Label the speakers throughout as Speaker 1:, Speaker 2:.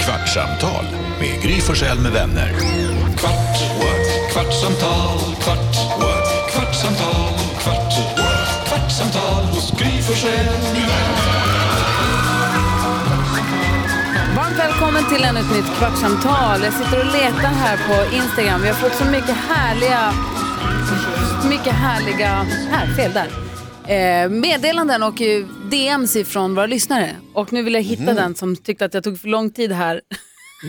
Speaker 1: Kvartsamtal med Gry Forssell med vänner. Kvart, what? kvartsamtal, kvart, what? kvartsamtal, kvart, what? kvartsamtal hos Gry Forssell med vänner.
Speaker 2: Varmt välkommen till ännu ett nytt kvartsamtal. Jag sitter och letar här på Instagram. Vi har fått så mycket härliga, mycket härliga, här, fel där, eh, meddelanden och eh, DMs ifrån våra lyssnare. Och nu vill jag hitta den som tyckte att jag tog för lång tid här.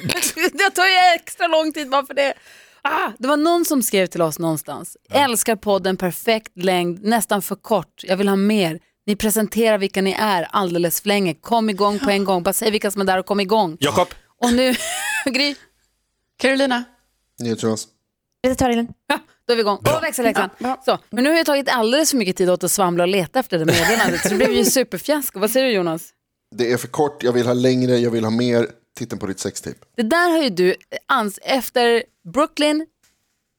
Speaker 2: jag tar ju extra lång tid bara för det. Ah, det var någon som skrev till oss någonstans. Älskar podden, perfekt längd, nästan för kort. Jag vill ha mer. Ni presenterar vilka ni är alldeles för länge. Kom igång på en gång. Bara säg vilka som är där och kom igång.
Speaker 3: Jakob.
Speaker 2: Och nu, Gry,
Speaker 4: Carolina.
Speaker 5: Nyhetsjonas.
Speaker 2: då är vi igång. Och växelläxan.
Speaker 4: Ja,
Speaker 2: Så, men nu har jag tagit alldeles för mycket tid åt att svamla och leta efter det meddelandet så det blev ju superfiasko. Vad säger du Jonas?
Speaker 5: Det är för kort, jag vill ha längre, jag vill ha mer. Titeln på ditt sextape.
Speaker 2: Det där har ju du ans efter Brooklyn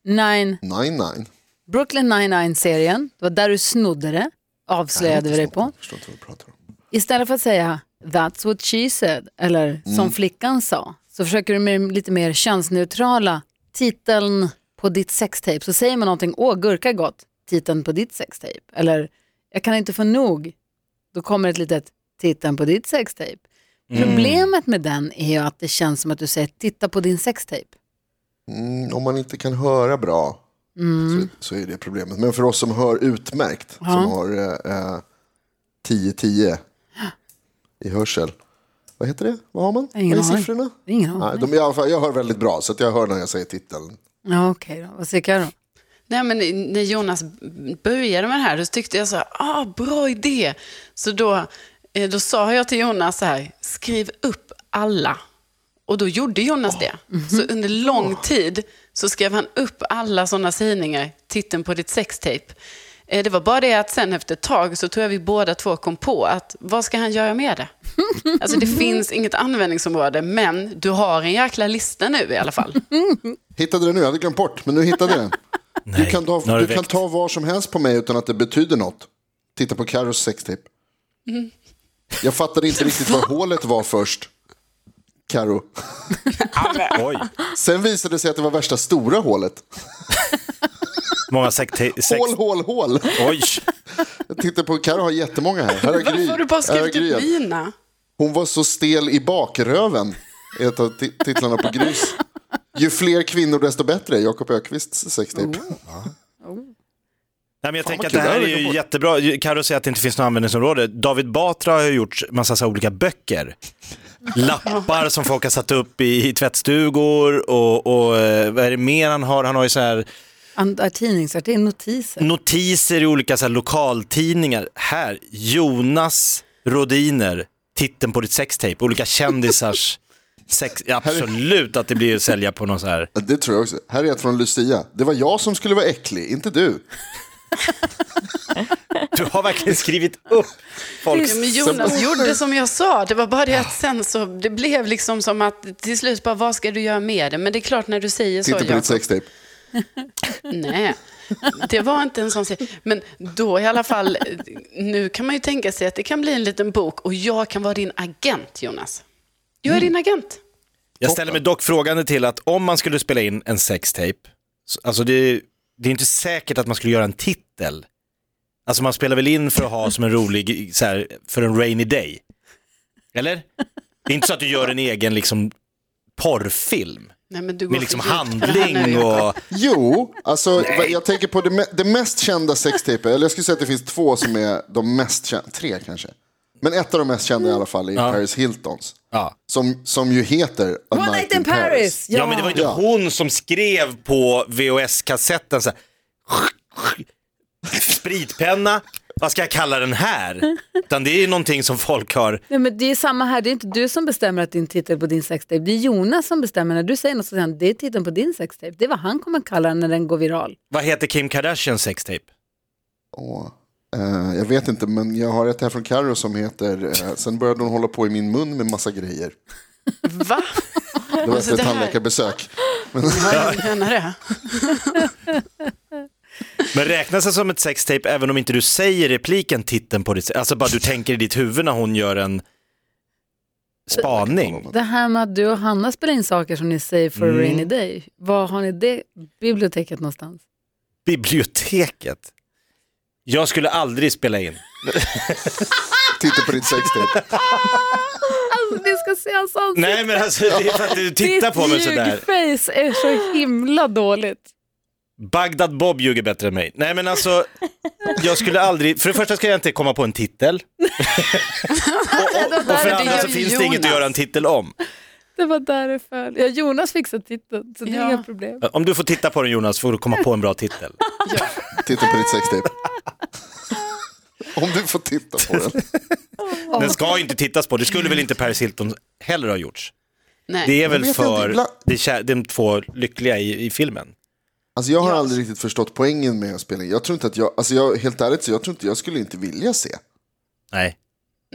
Speaker 2: 9,
Speaker 5: Nine nine.
Speaker 2: Brooklyn 99-serien. Det var där du snodde det, avslöjade vi dig på.
Speaker 5: Jag förstår inte vad du pratar om.
Speaker 2: Istället för att säga that's what she said eller som flickan sa så försöker du med lite mer könsneutrala titeln på ditt sextape så säger man någonting, åh gurka gott, titeln på ditt sextape eller jag kan inte få nog, då kommer ett litet titeln på ditt sextape. Problemet med den är ju att det känns som att du säger titta på din sextape.
Speaker 5: Mm, om man inte kan höra bra
Speaker 2: Mm.
Speaker 5: så, så är det problemet. Men för oss som hör utmärkt, som har eh, eh, 10-10 i hörsel. Vad heter det? Vad har man?
Speaker 2: Ingen
Speaker 5: vad är
Speaker 2: aning.
Speaker 5: siffrorna?
Speaker 2: Det är Ingen
Speaker 5: Nej,
Speaker 2: aning.
Speaker 5: de, i alla fall, jag hör väldigt bra, så att jag hör när jag säger titeln.
Speaker 2: Ja, okej då. Vad säger Karo?
Speaker 4: Nej, men när Jonas började med det här, då tyckte jag så här, ah, bra idé. Så då, eh, då sa jag till Jonas så här, skriv upp alla. Och då gjorde Jonas det. Så under lång tid så skrev han upp alla sådana sägningar, titeln på ditt sextape. Eh, Det var bara det att sen efter ett tag så tror jag vi båda två kom på att vad ska han göra med det? Alltså det finns inget användningsområde, men du har en jäkla lista nu i alla fall.
Speaker 5: Hittade den nu, jag hade glömt bort, men nu hittade jag den. du kan,
Speaker 3: nu har
Speaker 5: ta,
Speaker 3: du
Speaker 5: du kan
Speaker 3: väckt.
Speaker 5: ta var som helst på mig utan att det betyder något. Titta på Carros sextape.
Speaker 4: Mm.
Speaker 5: Jag fattade inte riktigt vad hålet var först. Karo.
Speaker 3: Oj,
Speaker 5: Sen visade det sig att det var värsta stora hålet.
Speaker 3: många sekt... Sex...
Speaker 5: Hål, hål, hål.
Speaker 3: Oj,
Speaker 5: Jag tittar på, Karo har jättemånga här. Här har Gry.
Speaker 4: Varför har du bara
Speaker 5: Här har
Speaker 4: skrivit upp
Speaker 5: Gry.
Speaker 4: mina?
Speaker 5: Hon var så stel i bakröven. är Ett av ti- titlarna på Grys. Ju fler kvinnor desto bättre. Jakob Ökvists
Speaker 4: Oh,
Speaker 5: sextape.
Speaker 3: Nej, men
Speaker 5: Fan,
Speaker 3: jag tänker
Speaker 5: vad
Speaker 3: att det
Speaker 5: kul, det
Speaker 3: här är
Speaker 5: här
Speaker 3: ju
Speaker 5: verkar
Speaker 3: jättebra. Carro säger att det inte finns något användningsområde. David Batra har ju gjort massa så här olika böcker. Lappar som folk har satt upp i, i tvättstugor och, och eh, vad är det mer han har? Han har ju så här
Speaker 2: An- äh, Tidningsartikel, notiser.
Speaker 3: notiser i olika så här lokaltidningar. Här, Jonas Rodiner, titeln på ditt sextape, olika kändisars sex. Absolut att det blir att sälja på någon så här.
Speaker 5: Ja, Det tror jag också. Här är ett från Lucia. Det var jag som skulle vara äcklig, inte du.
Speaker 3: Du har verkligen skrivit upp folks...
Speaker 4: Ja, men Jonas gjorde som jag sa. Det var bara det att sen så, det blev liksom som att till slut bara, vad ska du göra med det? Men det är klart när du säger så,
Speaker 5: Titta på ditt
Speaker 4: Jakob.
Speaker 5: sextape.
Speaker 4: Nej, det var inte en sån serie. Men då i alla fall, nu kan man ju tänka sig att det kan bli en liten bok och jag kan vara din agent, Jonas. Jag är
Speaker 5: Mm.
Speaker 4: din agent.
Speaker 3: Jag ställer mig dock frågande till att om man skulle spela in en sextape, så- alltså det, det är inte säkert att man skulle göra en titel. Alltså man spelar väl in för att ha som en rolig, så här, för en rainy day. Eller? Det är inte så att du gör en egen liksom porrfilm
Speaker 4: Nej, men du går
Speaker 3: med liksom
Speaker 4: för djupt för det här nu,
Speaker 3: handling
Speaker 4: Jakob.
Speaker 3: och...
Speaker 5: Jo, alltså vad- jag tänker på det, me- det mest kända sextape. Eller jag skulle säga att det finns två som är de mest kända. Tre kanske. Men ett av de mest kända i alla fall är Paris Hiltons.
Speaker 3: Ja.
Speaker 5: Som, som ju heter A
Speaker 2: One night in Paris!
Speaker 3: Ja, men det var ju inte
Speaker 5: Ja.
Speaker 3: hon som skrev på VHS-kassetten så här, spritpenna, vad ska jag kalla den här? Utan det är ju någonting som folk har
Speaker 2: Nej, men det är samma här, det är inte du som bestämmer att din titel på din sextape, det är Jonas som bestämmer när du säger något så säger han, det är titeln på din sextape, det är vad han kommer kalla den när den går viral.
Speaker 3: Vad heter Kim Kardashians sextape?
Speaker 5: Åh, eh, jag vet inte, men jag har ett här från Carro som heter eh, Sen började hon hålla på i min mun med massa grejer.
Speaker 4: Va?
Speaker 5: Det var
Speaker 4: Alltså,
Speaker 5: efter ett
Speaker 4: det här-
Speaker 5: tandläkarbesök.
Speaker 4: Ja, jag menar det.
Speaker 3: Men räknas det som ett sextape även om inte du säger repliken titeln på ditt Alltså bara du tänker i ditt huvud när hon gör en... spaning.
Speaker 2: Det här med att du och Hanna spelar in saker som ni säger för
Speaker 3: Mm.
Speaker 2: a rainy day. Var har ni det biblioteket någonstans?
Speaker 3: Biblioteket. Jag skulle aldrig spela in.
Speaker 5: Titta på ditt sextape.
Speaker 2: Alltså ni ska se hans ansikte.
Speaker 3: Nej men alltså det är för att du tittar på mig sådär.
Speaker 2: Ditt ljugface är så himla dåligt.
Speaker 3: Bagdad Bob ljuger bättre än mig. Nej men alltså, jag skulle aldrig, för det första ska jag inte komma på en titel. och, och, och för det
Speaker 4: det
Speaker 3: andra
Speaker 4: gör
Speaker 3: så
Speaker 4: ju
Speaker 3: finns det inget att
Speaker 4: Jonas.
Speaker 3: göra en titel om.
Speaker 2: Det var där det föll. Ja, Jonas fixar titeln, så det är
Speaker 4: Ja.
Speaker 2: inga problem.
Speaker 3: Om du får titta på den Jonas får du komma på en bra titel.
Speaker 5: Titta på ditt sextape. Om du får titta på den.
Speaker 3: Den ska inte tittas på, det skulle väl inte Paris Hilton heller ha gjorts.
Speaker 4: Nej.
Speaker 3: Det är
Speaker 5: Jag
Speaker 3: väl
Speaker 5: vet inte,
Speaker 3: för
Speaker 5: ibland-
Speaker 3: de, kär, de två lyckliga i, i filmen.
Speaker 5: Alltså jag har aldrig riktigt förstått poängen med att spela in. Jag tror inte att jag, alltså jag, helt ärligt så jag tror inte jag skulle inte vilja se.
Speaker 3: Nej.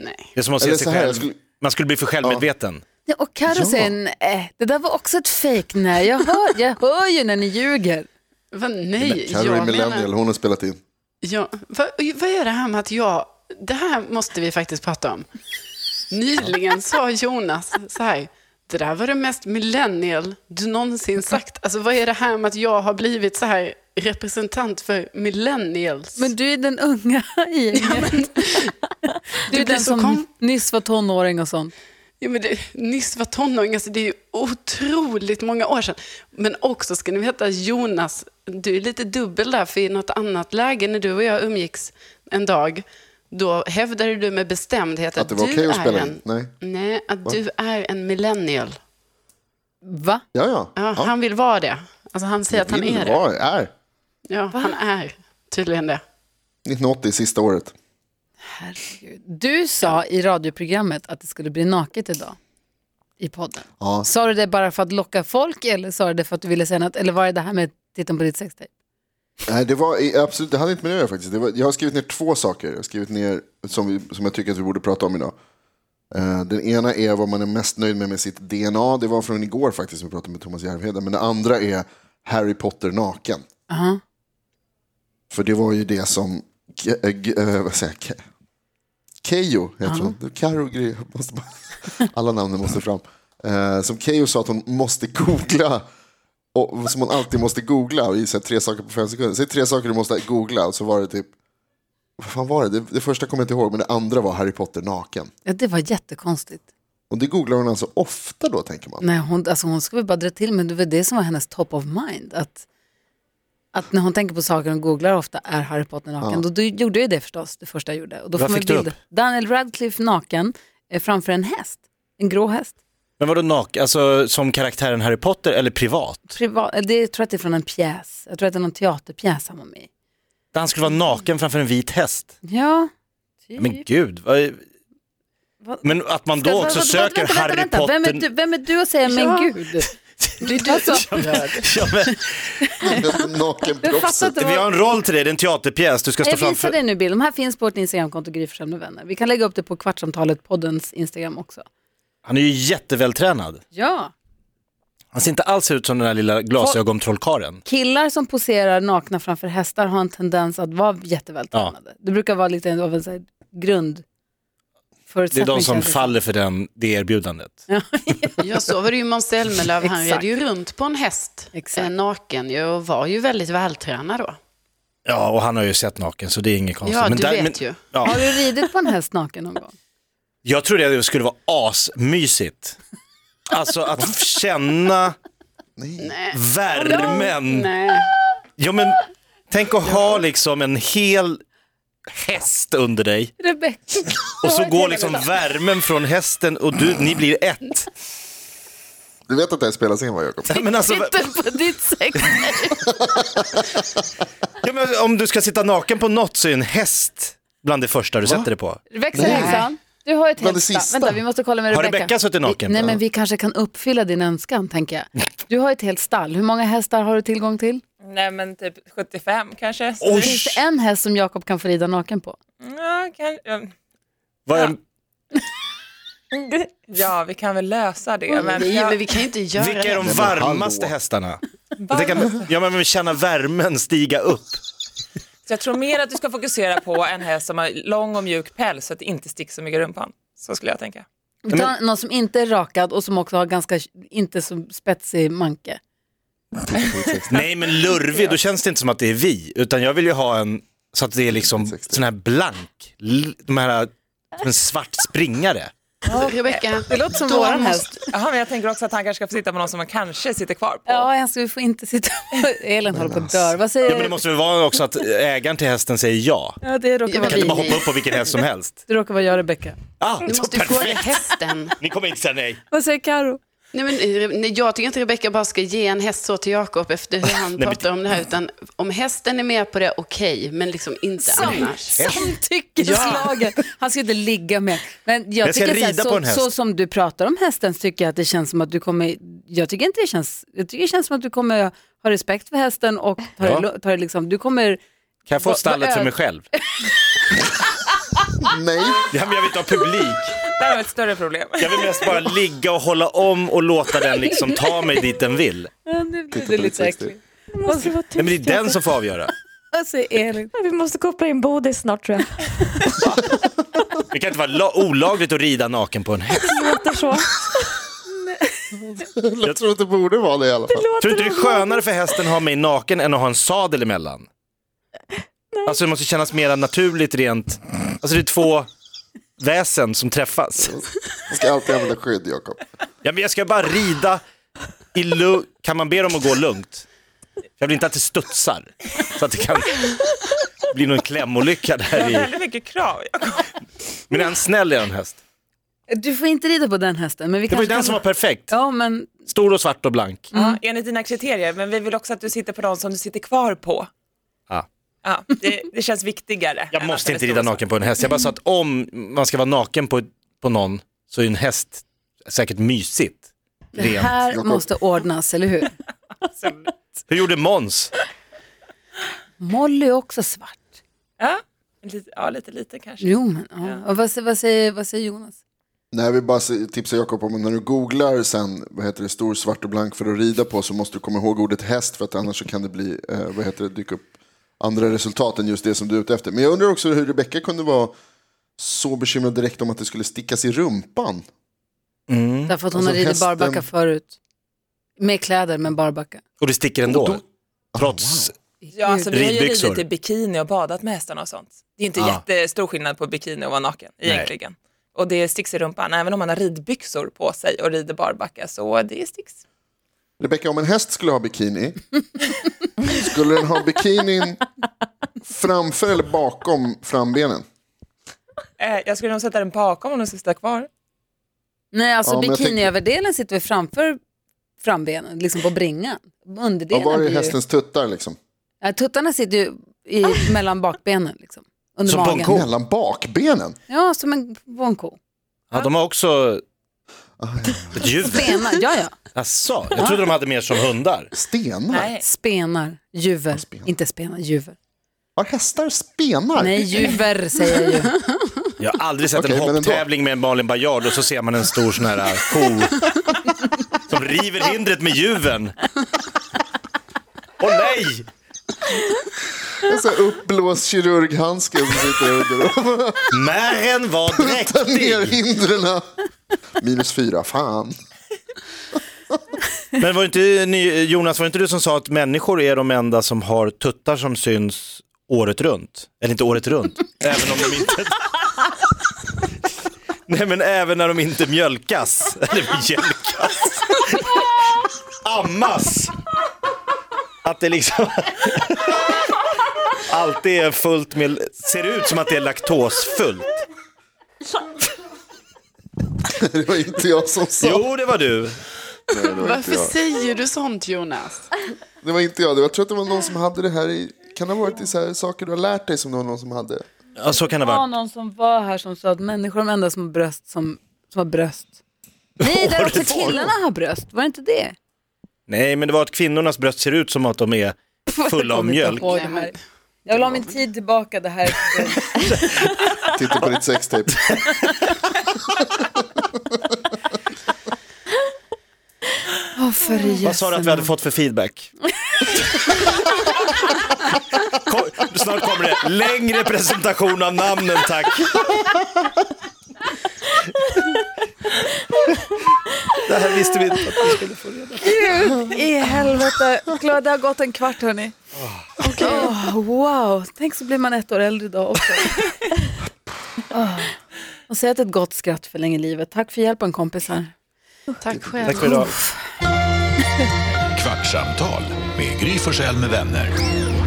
Speaker 4: Nej.
Speaker 3: Det är som att se
Speaker 5: Eller
Speaker 3: sig
Speaker 5: så här,
Speaker 3: själv.
Speaker 5: jag skulle-
Speaker 3: Man skulle bli för självmedveten.
Speaker 2: Ja, och Carro
Speaker 5: Ja.
Speaker 2: säger nej, det där var också ett fejk nej. Jag hör, jag hör ju när ni ljuger.
Speaker 4: Va, nej, jag
Speaker 5: Carro är millennial,
Speaker 4: menar...
Speaker 5: hon har spelat in.
Speaker 4: Ja, va, vad är det här med att jag... Det här måste vi faktiskt prata om. Nyligen sa Jonas så här, det där var det mest millennial du någonsin sagt. Alltså vad är det här med att jag har blivit så här representant för millennials?
Speaker 2: Men du är den unga i gänget. Du är
Speaker 4: det blir
Speaker 2: den
Speaker 4: så
Speaker 2: som
Speaker 4: kom...
Speaker 2: nyss var tonåring och sånt.
Speaker 4: Ja, men det, nyss var tonåring, alltså det är ju otroligt många år sedan. Men också ska ni veta, Jonas, du är lite dubbel där, för i något annat läge när du och jag umgicks en dag, då hävdade du med bestämdhet att,
Speaker 5: Att det var
Speaker 4: du
Speaker 5: okej att
Speaker 4: är
Speaker 5: spela in?
Speaker 4: en,
Speaker 5: Nej.
Speaker 4: Nej, att du är en millennial.
Speaker 2: Va?
Speaker 5: Ja, ja.
Speaker 4: Ja, Han vill vara det. Alltså han säger att han
Speaker 5: Vill
Speaker 4: är det.
Speaker 5: vara- är.
Speaker 4: Ja, han är tydligen det.
Speaker 5: 1980, sista året.
Speaker 2: Herregud. Du sa i radioprogrammet att det skulle bli naket idag i podden.
Speaker 5: Ja.
Speaker 2: Sa du det bara för att locka folk eller sa du det för att du ville säga något? Eller var det det här med titeln på ditt sextape?
Speaker 5: Nej, det var i- absolut, det hade inte med det att göra faktiskt. Det var, jag har skrivit ner två saker. Jag har skrivit ner som, vi, som jag tycker att vi borde prata om idag. Eh, den ena är vad man är mest nöjd med med sitt DNA. Det var från igår faktiskt, som vi pratade med Thomas Järvheden. Men det andra är Harry Potter naken.
Speaker 2: Aha.
Speaker 5: För det var ju det som... K- eh, g- eh, vad säger jag? Ke- Keyyo heter hon. Det är Karo Gry- jag måste bara- Alla namnen måste fram. Eh, som Keyyo sa att hon måste googla. Och, som hon alltid måste googla. Och gissa tre saker på fem sekunder. Säg tre saker du måste googla. Och så var det typ... Vad fan var det? det? Det första kommer jag inte ihåg. Men det andra var Harry Potter naken.
Speaker 2: Ja, det var jättekonstigt.
Speaker 5: Och det googlar hon alltså ofta då tänker man.
Speaker 2: Nej, hon, alltså hon ska väl bara dra till, men det var det som var hennes top of mind. Att, att när hon tänker på saker hon googlar ofta är Harry Potter naken. Då, då gjorde jag det förstås, det första jag gjorde. Och då
Speaker 3: Vad
Speaker 2: får man
Speaker 3: fick du
Speaker 2: bilder.
Speaker 3: upp?
Speaker 2: Daniel Radcliffe naken eh, framför en häst. En grå häst.
Speaker 3: Men vadå naken? Alltså som karaktären Harry Potter eller privat?
Speaker 2: Privat, eh, det jag tror jag att det är från en pjäs. Jag tror att det är någon teaterpjäs han var med i.
Speaker 3: Där han skulle vara naken framför en vit häst.
Speaker 2: Ja, typ.
Speaker 3: Men gud, vad...
Speaker 2: Vad-
Speaker 3: Men att man då
Speaker 2: Vänta,
Speaker 3: också
Speaker 2: vänta,
Speaker 3: söker
Speaker 2: vänta, vänta,
Speaker 3: Harry
Speaker 2: vänta.
Speaker 3: Potter...
Speaker 2: Vem är du, vem är du att säga men
Speaker 4: Ja.
Speaker 2: gud? Det är du alltså,
Speaker 3: Ja, men,
Speaker 2: jag fattar
Speaker 5: Nakenproffset.
Speaker 2: inte
Speaker 3: vi
Speaker 2: vad...
Speaker 3: har en roll till dig, det är en teaterpjäs. Du ska stå
Speaker 2: Jag visar
Speaker 3: framför...
Speaker 2: dig nu bild. De här finns på vårt Instagramkonto, Gry Forssell med vänner. Vi kan lägga upp det på Kvartsamtalet, poddens Instagram också.
Speaker 3: Han är ju jättevältränad.
Speaker 2: Ja.
Speaker 3: Han ser inte alls ut som den där lilla glasögontrollkaren.
Speaker 2: Killar som poserar nakna framför hästar har en tendens att vara jättevältränade. Det brukar vara lite av en så här grund.
Speaker 3: Det är de som faller för den, det erbjudandet.
Speaker 4: Ja, så var det ju Måns Zelmerlöw. Han
Speaker 2: Exakt.
Speaker 4: red ju runt på en häst,
Speaker 2: Exakt.
Speaker 4: eh, naken, ju, och var ju väldigt vältränad då.
Speaker 3: Ja, och han har ju sett naken så det är inget konstigt.
Speaker 4: Ja, du vet
Speaker 3: men,
Speaker 4: ju.
Speaker 3: Ja,
Speaker 2: Har du ridit på en häst naken någon gång?
Speaker 3: jag trodde att det skulle vara asmysigt. Alltså att känna värmen.
Speaker 4: Nej.
Speaker 3: Ja, men tänk att ha liksom en hel häst under dig
Speaker 2: Rebecka.
Speaker 3: och så går liksom värmen från hästen och du, ni blir ett.
Speaker 5: Du vet att det här spelas in va Jakob?
Speaker 3: Nej, Men alltså,
Speaker 2: Titta på ditt sex.
Speaker 3: ja, men om du ska sitta naken på något så är en häst bland det första du sätter dig på.
Speaker 2: Växla häxan. Du har ett
Speaker 5: Bland
Speaker 2: helt
Speaker 5: det
Speaker 2: spa.
Speaker 5: sista.
Speaker 2: Vänta, vi måste kolla med
Speaker 3: Har
Speaker 2: Rebecca.
Speaker 3: Rebecca suttit naken?
Speaker 2: Vi- Nej,
Speaker 3: Ja.
Speaker 2: men vi kanske kan uppfylla din önskan, tänker jag. Du har ett helt stall. Hur många hästar har du tillgång till?
Speaker 6: Nej men typ 75 kanske. Så
Speaker 3: Oj!
Speaker 2: Finns det en häst som Jakob kan få rida naken på?
Speaker 6: Ja, kan, ja.
Speaker 3: Vad är-
Speaker 6: ja, vi kan väl lösa det. Men
Speaker 4: Nej, men
Speaker 6: jag,
Speaker 4: vi kan ju inte göra
Speaker 3: Vilka är de
Speaker 4: det.
Speaker 5: men
Speaker 3: varmaste
Speaker 5: hallå.
Speaker 3: hästarna? Jag tänker, att- ja, men vi känner värmen stiga upp.
Speaker 6: så jag tror mer att du ska fokusera på en häst som har lång och mjuk päls så att det inte sticks så mycket i rumpan. Så skulle jag tänka.
Speaker 2: Ta någon som inte är rakad och som också har ganska, inte så spetsig manke.
Speaker 3: Nej men lurvig, då känns det inte som att det är vi. Utan jag vill ju ha en, så att det är liksom sån här blank, l- de här, som en svart springare.
Speaker 4: Rebecka,
Speaker 2: Det låter som våran häst.
Speaker 6: Jaha, men jag tänker också att han kanske ska få sitta med någon som han kanske sitter kvar på.
Speaker 2: Ja, jag ska, vi får inte sitta... Elin håller på att dö. Vad säger
Speaker 3: Ja, men det måste väl vara också att ägaren till hästen säger ja.
Speaker 2: Ja, det råkar
Speaker 4: Jag
Speaker 2: vara
Speaker 3: Kan inte
Speaker 2: vi.
Speaker 3: bara hoppa upp på vilken häst som helst.
Speaker 2: Det råkar vara jag, Rebecka.
Speaker 3: Ah,
Speaker 4: du
Speaker 3: så
Speaker 4: måste ju fråga
Speaker 3: perfekt.
Speaker 4: hästen.
Speaker 3: Ni kommer inte säga nej.
Speaker 2: Vad säger Karo?
Speaker 4: Nej, men, eh, nej, jag tycker inte Rebecka bara ska ge en häst så till Jakob efter hur han
Speaker 3: men-
Speaker 4: pratar om det här. Utan om hästen är med på det, okej, men liksom inte annars.
Speaker 2: Samtyckeslagen. Han ska inte ligga med. Men jag,
Speaker 3: Jag ska
Speaker 2: tycker så, här,
Speaker 3: rida på en
Speaker 2: så,
Speaker 3: häst.
Speaker 2: så som du pratar om hästen så tycker jag att det känns som att du kommer... Jag tycker inte det känns... Jag tycker det känns som att du kommer ha respekt för hästen och tar
Speaker 3: Ja.
Speaker 2: det, lu- tar det liksom... Du kommer...
Speaker 3: Kan jag få
Speaker 2: Vad-
Speaker 3: stallet
Speaker 2: vad
Speaker 3: för
Speaker 2: är-
Speaker 3: mig själv?
Speaker 5: Nej,
Speaker 3: Ja, men jag vill inte ha publik.
Speaker 6: Det här var ett större problem.
Speaker 3: Jag vill mest bara ligga och hålla om och låta den liksom ta mig dit den vill.
Speaker 2: Ja, nu blir
Speaker 5: på
Speaker 2: det lite
Speaker 5: 360.
Speaker 2: äckligt. Vad säger-
Speaker 3: Nej, men det är den som får avgöra.
Speaker 2: Vad säger Elin?
Speaker 7: Vi måste koppla in Bodis snart tror jag.
Speaker 3: Det kan inte vara la- olagligt att rida naken på en häst.
Speaker 7: Låter så.
Speaker 5: jag tror inte det borde vara det i alla fall.
Speaker 3: Tror du inte det
Speaker 2: Alltså,
Speaker 3: är skönare för hästen att ha mig naken än att ha en sadel emellan? Alltså det måste kännas mer naturligt rent. Alltså det är två väsen som träffas.
Speaker 5: Man ska alltid använda skydd, Jakob.
Speaker 3: Ja, men jag ska bara rida i lugn. Kan man be dem att gå lugnt? Jag vill inte att det studsar. Så att det kan bli någon klämolycka
Speaker 6: Det
Speaker 3: där
Speaker 6: var
Speaker 3: i.
Speaker 6: väldigt mycket krav. Jakob.
Speaker 3: Men är han snäll är han häst.
Speaker 2: Du får inte rida på den hästen. Men vi
Speaker 3: Det var ju
Speaker 2: kanske
Speaker 3: den
Speaker 2: kan-
Speaker 3: som var perfekt.
Speaker 2: Ja, men
Speaker 3: Stor och svart och blank.
Speaker 6: Ja, enligt dina kriterier, men vi vill också att du sitter på någon som du sitter kvar på.
Speaker 3: Ja.
Speaker 6: Ja, det, det känns viktigare.
Speaker 3: Jag
Speaker 6: än att
Speaker 3: måste
Speaker 6: den
Speaker 3: inte
Speaker 6: är stor
Speaker 3: rida
Speaker 6: så.
Speaker 3: naken på en häst. Jag bara sa att om man ska vara naken på, på någon så är en häst säkert mysigt.
Speaker 2: det
Speaker 3: Rent.
Speaker 2: här
Speaker 5: Jakob.
Speaker 2: måste ordnas, eller hur?
Speaker 3: Hur gjorde Måns?
Speaker 2: Molly är också svart.
Speaker 6: Ja, lite, ja, lite lite kanske.
Speaker 2: Jo, men ja. Och vad, sä- vad, säger, vad säger Jonas?
Speaker 5: Nej, vi bara tipsar Jakob om att när du googlar sen, vad heter det, stor, svart och blank för att rida på så måste du komma ihåg ordet häst för att annars så kan det bli, eh, vad heter det, dyka upp andra resultat än just det som du är ute efter. Men jag undrar också hur Rebecka kunde vara så bekymrad direkt om att det skulle stickas i rumpan.
Speaker 2: Därför att hon
Speaker 5: Alltså,
Speaker 2: har ridit
Speaker 5: hästen-
Speaker 2: barbacka förut. Med kläder, men barbacka.
Speaker 3: Och det sticker ändå.
Speaker 5: Ah,
Speaker 3: Trots...
Speaker 6: Ja, alltså, vi har ju
Speaker 3: Ridbyxor.
Speaker 6: ridit i bikini och badat med hästarna och sånt. Det är inte
Speaker 3: Ah.
Speaker 6: jättestor skillnad på bikini och vara naken egentligen. Och det sticks i rumpan, även om man har ridbyxor på sig och rider barbacka så det sticks.
Speaker 5: Rebecka, om en häst skulle ha bikini, skulle den ha bikinin framför eller bakom frambenen?
Speaker 6: Eh, jag skulle nog sätta den bakom om den skulle sitta kvar.
Speaker 2: Nej, alltså
Speaker 5: Ja, men jag tänker-
Speaker 2: bikiniöverdelen sitter väl framför frambenen, liksom på bringan. Underdelen
Speaker 5: Ja, var är
Speaker 2: blir ju-
Speaker 5: hästens tuttar liksom?
Speaker 2: Ja, tuttarna sitter ju i,
Speaker 6: Ah!
Speaker 2: mellan bakbenen, liksom. Under
Speaker 3: Som på en
Speaker 2: magen.
Speaker 3: ko.
Speaker 5: Mellan bakbenen?
Speaker 2: Ja, som en på en ko.
Speaker 3: Ja, de har också
Speaker 5: Ah,
Speaker 3: ett juver.
Speaker 2: Spenar, ja, ja.
Speaker 3: Asså, jag trodde de hade mer som hundar.
Speaker 5: Stenar?
Speaker 6: Nej.
Speaker 2: Spenar, juver.
Speaker 5: spenar.
Speaker 2: Inte spenar, juver.
Speaker 5: Har hästar spenar?
Speaker 2: Nej, juver säger jag ju.
Speaker 3: Jag har aldrig sett
Speaker 5: Okej,
Speaker 3: en
Speaker 5: men ändå.
Speaker 3: hopptävling med Malin Baryard och så ser man en stor sån här ko som river hindret med juven. Åh nej!
Speaker 5: En sån Alltså, här uppblåst kirurghandske som sitter under och
Speaker 3: Mären var
Speaker 5: tar ner
Speaker 3: dräktig.
Speaker 5: hindren. Minus fyra, fan.
Speaker 3: Men var inte, ni- Jonas, var det inte du som sa att människor är de enda som har tuttar som syns året runt? Eller inte året runt, även om de inte... Nej men även när de inte mjölkas. Eller mjölkas. Ammas. Att det liksom... Alltid är fullt med... Ser ut som att det är laktosfullt.
Speaker 5: Det var inte jag som sa
Speaker 3: Jo, det var du.
Speaker 5: det. Det var, inte
Speaker 4: Varför
Speaker 5: jag.
Speaker 4: säger du sånt Jonas?
Speaker 5: det var inte jag. Det var- Jag tror att det var någon som hade det här i... Kan det ha varit i så här saker du har lärt dig som det var någon som hade?
Speaker 3: Ja, så kan det
Speaker 2: Det var
Speaker 3: vara.
Speaker 2: någon som var här som sa att människor är de enda som har bröst som, som har bröst. Nej, där också
Speaker 3: Året runt.
Speaker 2: killarna har bröst. Var det inte det?
Speaker 3: Nej, men det var att kvinnornas bröst ser ut som att de är fulla av mjölk.
Speaker 2: Oj, det här. Jag vill ha min tid tillbaka. Det här är ett-
Speaker 5: Titta på ditt sextape.
Speaker 2: Åh, för i
Speaker 3: Vad sa du att vi hade fått för feedback? Kom, snart kommer det. Längre presentation av namnen tack. Det här visste vi inte att vi skulle få reda på.
Speaker 2: Gud i helvete. Klara, det har gått en kvart hörni. Åh, wow, tänk så blir man ett år äldre idag också. Åh. Och säg att ett gott skratt förlänger livet. Tack för hjälpen kompisar.
Speaker 4: Tack själv.
Speaker 3: Tack för idag.
Speaker 1: Kvartsamtal med Gry Forssell med vänner.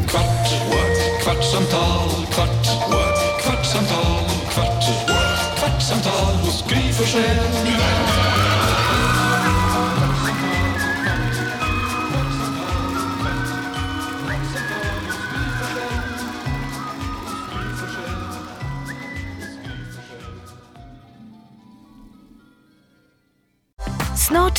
Speaker 1: Kvart, what? kvartsamtal, kvart, what? kvartsamtal, kvart, what? kvartsamtal hos Gry Forssell med vänner.
Speaker 8: Snart